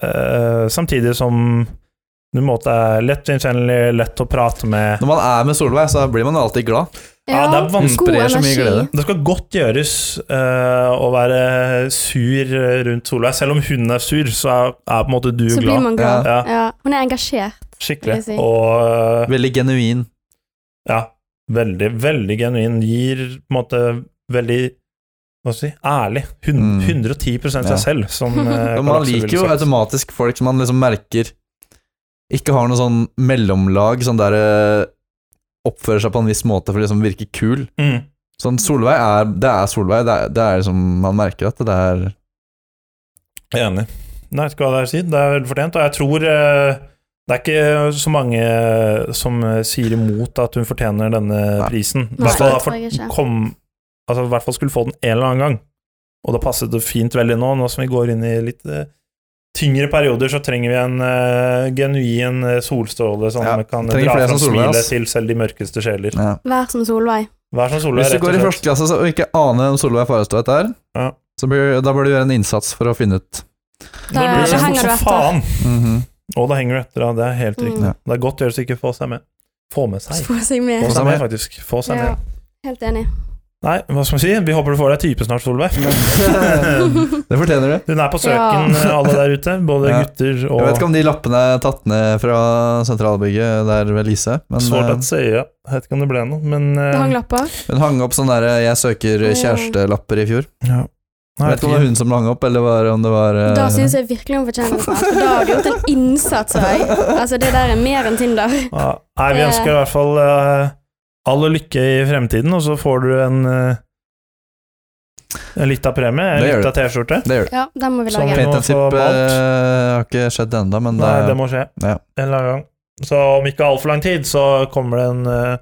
[SPEAKER 3] eh, samtidig som du på en måte er lett gjenkjennelig, lett å prate med
[SPEAKER 2] Når man er med Solveig, så blir man alltid glad.
[SPEAKER 3] Ja, det er
[SPEAKER 4] god
[SPEAKER 2] sprer så mye
[SPEAKER 4] energi.
[SPEAKER 2] glede.
[SPEAKER 3] Det skal godt gjøres eh, å være sur rundt Solveig. Selv om hun er sur, så er, er på en måte du
[SPEAKER 4] Så blir
[SPEAKER 3] glad.
[SPEAKER 4] man glad.
[SPEAKER 3] Ja.
[SPEAKER 4] Ja. Hun er engasjert.
[SPEAKER 3] Skikkelig.
[SPEAKER 4] vil jeg si.
[SPEAKER 3] Og eh,
[SPEAKER 2] Veldig genuin.
[SPEAKER 3] ja, veldig, veldig genuin. Gir på en måte veldig hva skal jeg si, ærlig. Hun,
[SPEAKER 2] Mm.
[SPEAKER 3] 110 seg
[SPEAKER 2] Ja.
[SPEAKER 3] selv,
[SPEAKER 4] (laughs)
[SPEAKER 3] som eh,
[SPEAKER 2] Og man
[SPEAKER 3] Galaxy
[SPEAKER 2] liker jo
[SPEAKER 3] ville sagt.
[SPEAKER 2] automatisk folk som man liksom merker ikke har noe sånn mellomlag, sånn der eh, oppfører seg på en viss måte for å liksom virke kul.
[SPEAKER 3] Mm.
[SPEAKER 2] Sånn Solveig er Det er Solveig. Det er, det er liksom Man merker at det er
[SPEAKER 3] Jeg er enig. Nei, vet ikke hva det er å si. Det er veldig fortjent. Og jeg tror eh, det er ikke så mange som eh, sier imot at hun fortjener denne
[SPEAKER 2] Nei.
[SPEAKER 3] prisen. I
[SPEAKER 4] Nei,
[SPEAKER 3] hvert fall
[SPEAKER 4] det
[SPEAKER 3] da
[SPEAKER 4] tror
[SPEAKER 3] for-
[SPEAKER 4] jeg ikke.
[SPEAKER 3] kom Altså, i hvert fall skulle få den en eller annen gang. Og da passet det fint veldig nå, nå som vi går inn i litt eh, tyngre perioder, så trenger vi en eh, genuin eh, solstråle som
[SPEAKER 2] Ja,
[SPEAKER 3] kan
[SPEAKER 2] trenger
[SPEAKER 3] dra
[SPEAKER 2] flere
[SPEAKER 3] fram
[SPEAKER 2] som Solveig,
[SPEAKER 3] smilet
[SPEAKER 2] ass.
[SPEAKER 3] til selv de mørkeste sjeler.
[SPEAKER 2] ja.
[SPEAKER 4] Vær som Solveig.
[SPEAKER 3] Vær som Solveig,
[SPEAKER 2] Hvis du
[SPEAKER 3] rett
[SPEAKER 2] går i
[SPEAKER 3] og slett.
[SPEAKER 2] første klasse så- og ikke aner hvem Solveig Farestad er,
[SPEAKER 3] Ja.
[SPEAKER 2] så bør, da bør du gjøre en innsats for å finne ut.
[SPEAKER 3] Da
[SPEAKER 4] Da-
[SPEAKER 3] blir
[SPEAKER 4] da
[SPEAKER 3] det
[SPEAKER 4] henger
[SPEAKER 3] fort
[SPEAKER 4] du
[SPEAKER 3] som
[SPEAKER 4] etter.
[SPEAKER 3] faen! (laughs)
[SPEAKER 2] Mhm.
[SPEAKER 3] Og da henger du etter, ja. Det er helt
[SPEAKER 4] Mm.
[SPEAKER 3] riktig.
[SPEAKER 2] Ja.
[SPEAKER 3] Det er godt å gjøre så ikke få seg med. Få med seg.
[SPEAKER 4] Få seg med.
[SPEAKER 3] Få
[SPEAKER 2] seg
[SPEAKER 3] seg med,
[SPEAKER 2] med.
[SPEAKER 3] faktisk. Få seg
[SPEAKER 4] Ja.
[SPEAKER 3] med.
[SPEAKER 4] Helt enig.
[SPEAKER 3] Nei, hva skal man si? Vi håper du får deg type snart,
[SPEAKER 4] (laughs)
[SPEAKER 3] Solveig. (laughs)
[SPEAKER 2] det fortjener du.
[SPEAKER 3] Hun er på søken, eh, alle der ute. Både
[SPEAKER 2] Ja.
[SPEAKER 3] gutter
[SPEAKER 2] Jeg vet
[SPEAKER 3] og
[SPEAKER 2] ikke om de lappene er tatt ned fra sentralbygget der ved Lise, men
[SPEAKER 3] Svårt
[SPEAKER 2] eh,
[SPEAKER 3] å si, ja. Jeg vet ikke om det ble noe, men
[SPEAKER 4] Det hang
[SPEAKER 3] eh,
[SPEAKER 4] lapper.
[SPEAKER 2] hun hang opp sånne der, eh, 'jeg søker
[SPEAKER 4] Å, ja.
[SPEAKER 2] kjærestelapper' i fjor.
[SPEAKER 3] ja.
[SPEAKER 2] Jeg
[SPEAKER 3] Nei,
[SPEAKER 2] vet ikke om det var hun som hang opp, eller var, om det var eh,
[SPEAKER 4] Da syns jeg virkelig hun fortjener det. For da har du gjort en innsats. Jeg. Altså, det der er mer enn Tinder. (laughs)
[SPEAKER 3] ja. Nei, vi ønsker i hvert fall eh, all lykke i fremtiden, og så får du en eh, en lita premie, en
[SPEAKER 2] Det gjør
[SPEAKER 3] lita T-skjorte.
[SPEAKER 2] Det gjør det.
[SPEAKER 4] Ja, den må vi
[SPEAKER 3] Som-
[SPEAKER 4] lage.
[SPEAKER 3] Nå
[SPEAKER 2] Paint and
[SPEAKER 3] får
[SPEAKER 2] Sip
[SPEAKER 3] Balt.
[SPEAKER 2] eh, har ikke skjedd ennå, men det,
[SPEAKER 3] Nei, det må skje.
[SPEAKER 2] Ja.
[SPEAKER 3] En eller annen gang. Så om ikke altfor lang tid, så kommer det en eh,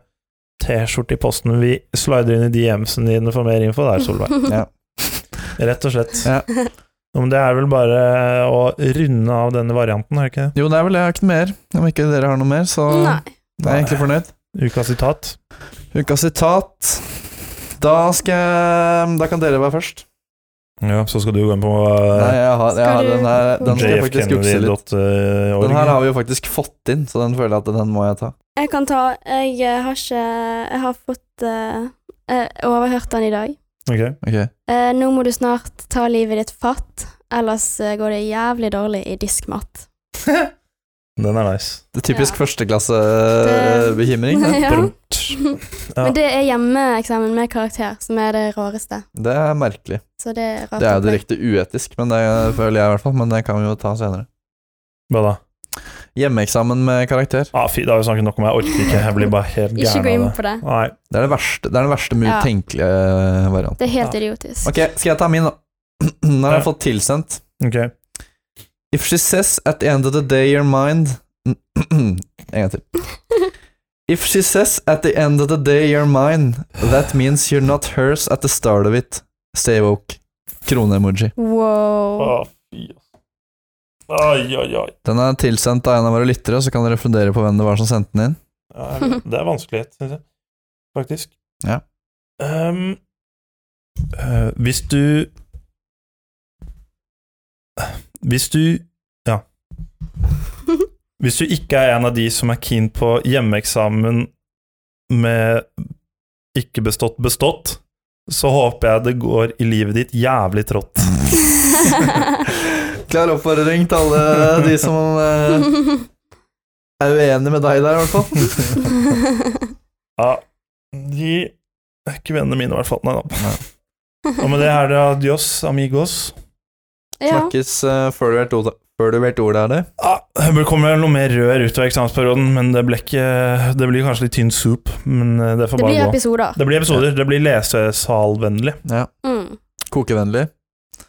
[SPEAKER 3] T-skjorte i posten. Vi slider inn i DM-en dine for mer info der,
[SPEAKER 4] (laughs)
[SPEAKER 3] Solveig.
[SPEAKER 2] Ja.
[SPEAKER 3] Rett og slett.
[SPEAKER 2] Ja.
[SPEAKER 3] Men det er vel bare å runde av denne varianten, er det ikke det?
[SPEAKER 2] Jo, det er vel det. Jeg har ikke noe mer. Om ikke dere har noe mer, så
[SPEAKER 4] Nei.
[SPEAKER 2] er jeg egentlig fornøyd.
[SPEAKER 3] Ukas sitat.
[SPEAKER 2] Ukas sitat. Da skal jeg Da kan dere være først.
[SPEAKER 3] Ja, så skal du gå inn på eh,
[SPEAKER 2] Nei, jeg har, jeg har
[SPEAKER 4] Skal du-
[SPEAKER 2] den her Den skal jeg faktisk jukse litt. Den her
[SPEAKER 3] jfkennedy.org.
[SPEAKER 2] har vi jo faktisk fått inn, så den føler jeg at den må jeg ta.
[SPEAKER 4] Jeg kan ta Jeg eh, har ikke Jeg har fått eh, eh, overhørt den i dag.
[SPEAKER 3] Ok.
[SPEAKER 2] Ok.
[SPEAKER 4] Eh, nå må du snart ta livet ditt fatt, ellers eh, går det jævlig dårlig i
[SPEAKER 2] (laughs)
[SPEAKER 4] diskmat.
[SPEAKER 3] Den er nice.
[SPEAKER 2] Det er typisk
[SPEAKER 4] Ja. (laughs)
[SPEAKER 2] førsteklassebekymring.
[SPEAKER 4] Ja.
[SPEAKER 3] Ja.
[SPEAKER 4] Men det er hjemmeeksamen med karakter, som er det rareste.
[SPEAKER 2] Det er merkelig.
[SPEAKER 4] Så det er rart.
[SPEAKER 2] Det er jo
[SPEAKER 4] opplegg.
[SPEAKER 2] direkte uetisk, men det føler jeg i hvert fall. Men det kan vi jo ta senere.
[SPEAKER 3] Hva da?
[SPEAKER 2] Hjemmeeksamen med karakter.
[SPEAKER 3] Ah, fy, da har vi snakket nok om meg. Jeg orker ikke. Jeg blir bare helt
[SPEAKER 4] Ikke gå
[SPEAKER 3] gæren
[SPEAKER 4] inn
[SPEAKER 3] av det.
[SPEAKER 4] på det.
[SPEAKER 3] Nei.
[SPEAKER 2] Det er, det verste, det er den verste mulig
[SPEAKER 4] Ja.
[SPEAKER 2] tenkelige varianten.
[SPEAKER 4] Det er helt
[SPEAKER 3] Ja.
[SPEAKER 4] idiotisk.
[SPEAKER 2] Ok, skal jeg ta min, da? (clears throat) Den har jeg
[SPEAKER 3] Ja.
[SPEAKER 2] fått tilsendt.
[SPEAKER 3] Ok.
[SPEAKER 2] If she says at the end of the day your mind (clears throat) En gang til. If she says at the end of the day you're mine, that means you're not hers at the start of it. Stay woke. Krone-emoji.
[SPEAKER 4] (laughs) Wow.
[SPEAKER 3] Å, fy, ass. Oi, oi, oi.
[SPEAKER 2] Den er tilsendt av en av våre lyttere, så kan dere fundere på hvem det var som sendte den inn.
[SPEAKER 3] Ja, jeg vet. det er vanskelighet, syns jeg. Faktisk.
[SPEAKER 2] Ja.
[SPEAKER 3] Ehm, eh, hvis du Hvis du Ja. Hvis du ikke er en av de som er keen på hjemmeeksamen med ikke bestått bestått, så håper jeg det går i livet ditt jævlig trått.
[SPEAKER 2] Klar oppfordring til alle de som eh, er uenige med deg der, i hvert fall.
[SPEAKER 3] Ja, de er ikke vennene mine, i hvert fall. Nei da. Og med det er det adios, amigos.
[SPEAKER 4] (laughs) Ja.
[SPEAKER 2] Snakkes eh, før du vet ordet- før du vet ordet av det.
[SPEAKER 3] Ja, det kommer noe mer rør utover eksamensperioden, men det, ble ikke, det blir kanskje litt tynn soup. Men eh, det får
[SPEAKER 4] Det blir
[SPEAKER 3] bare gå.
[SPEAKER 4] episoder.
[SPEAKER 3] Det blir episoder. Det blir lesesalvennlig.
[SPEAKER 2] Ja.
[SPEAKER 4] Mm.
[SPEAKER 2] Kokevennlig.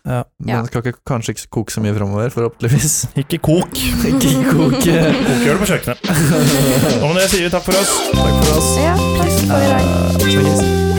[SPEAKER 3] Ja.
[SPEAKER 2] Men
[SPEAKER 4] Ja.
[SPEAKER 2] skal ikke, kanskje ikke koke så mye framover, forhåpentligvis.
[SPEAKER 3] Ikke kok.
[SPEAKER 2] (laughs) ikke koke.
[SPEAKER 3] Kok gjør det på kjøkkenet. Og med det sier vi takk for oss.
[SPEAKER 2] Takk for oss.
[SPEAKER 4] Ja, takk for i dag.
[SPEAKER 2] Eh, Snakkes.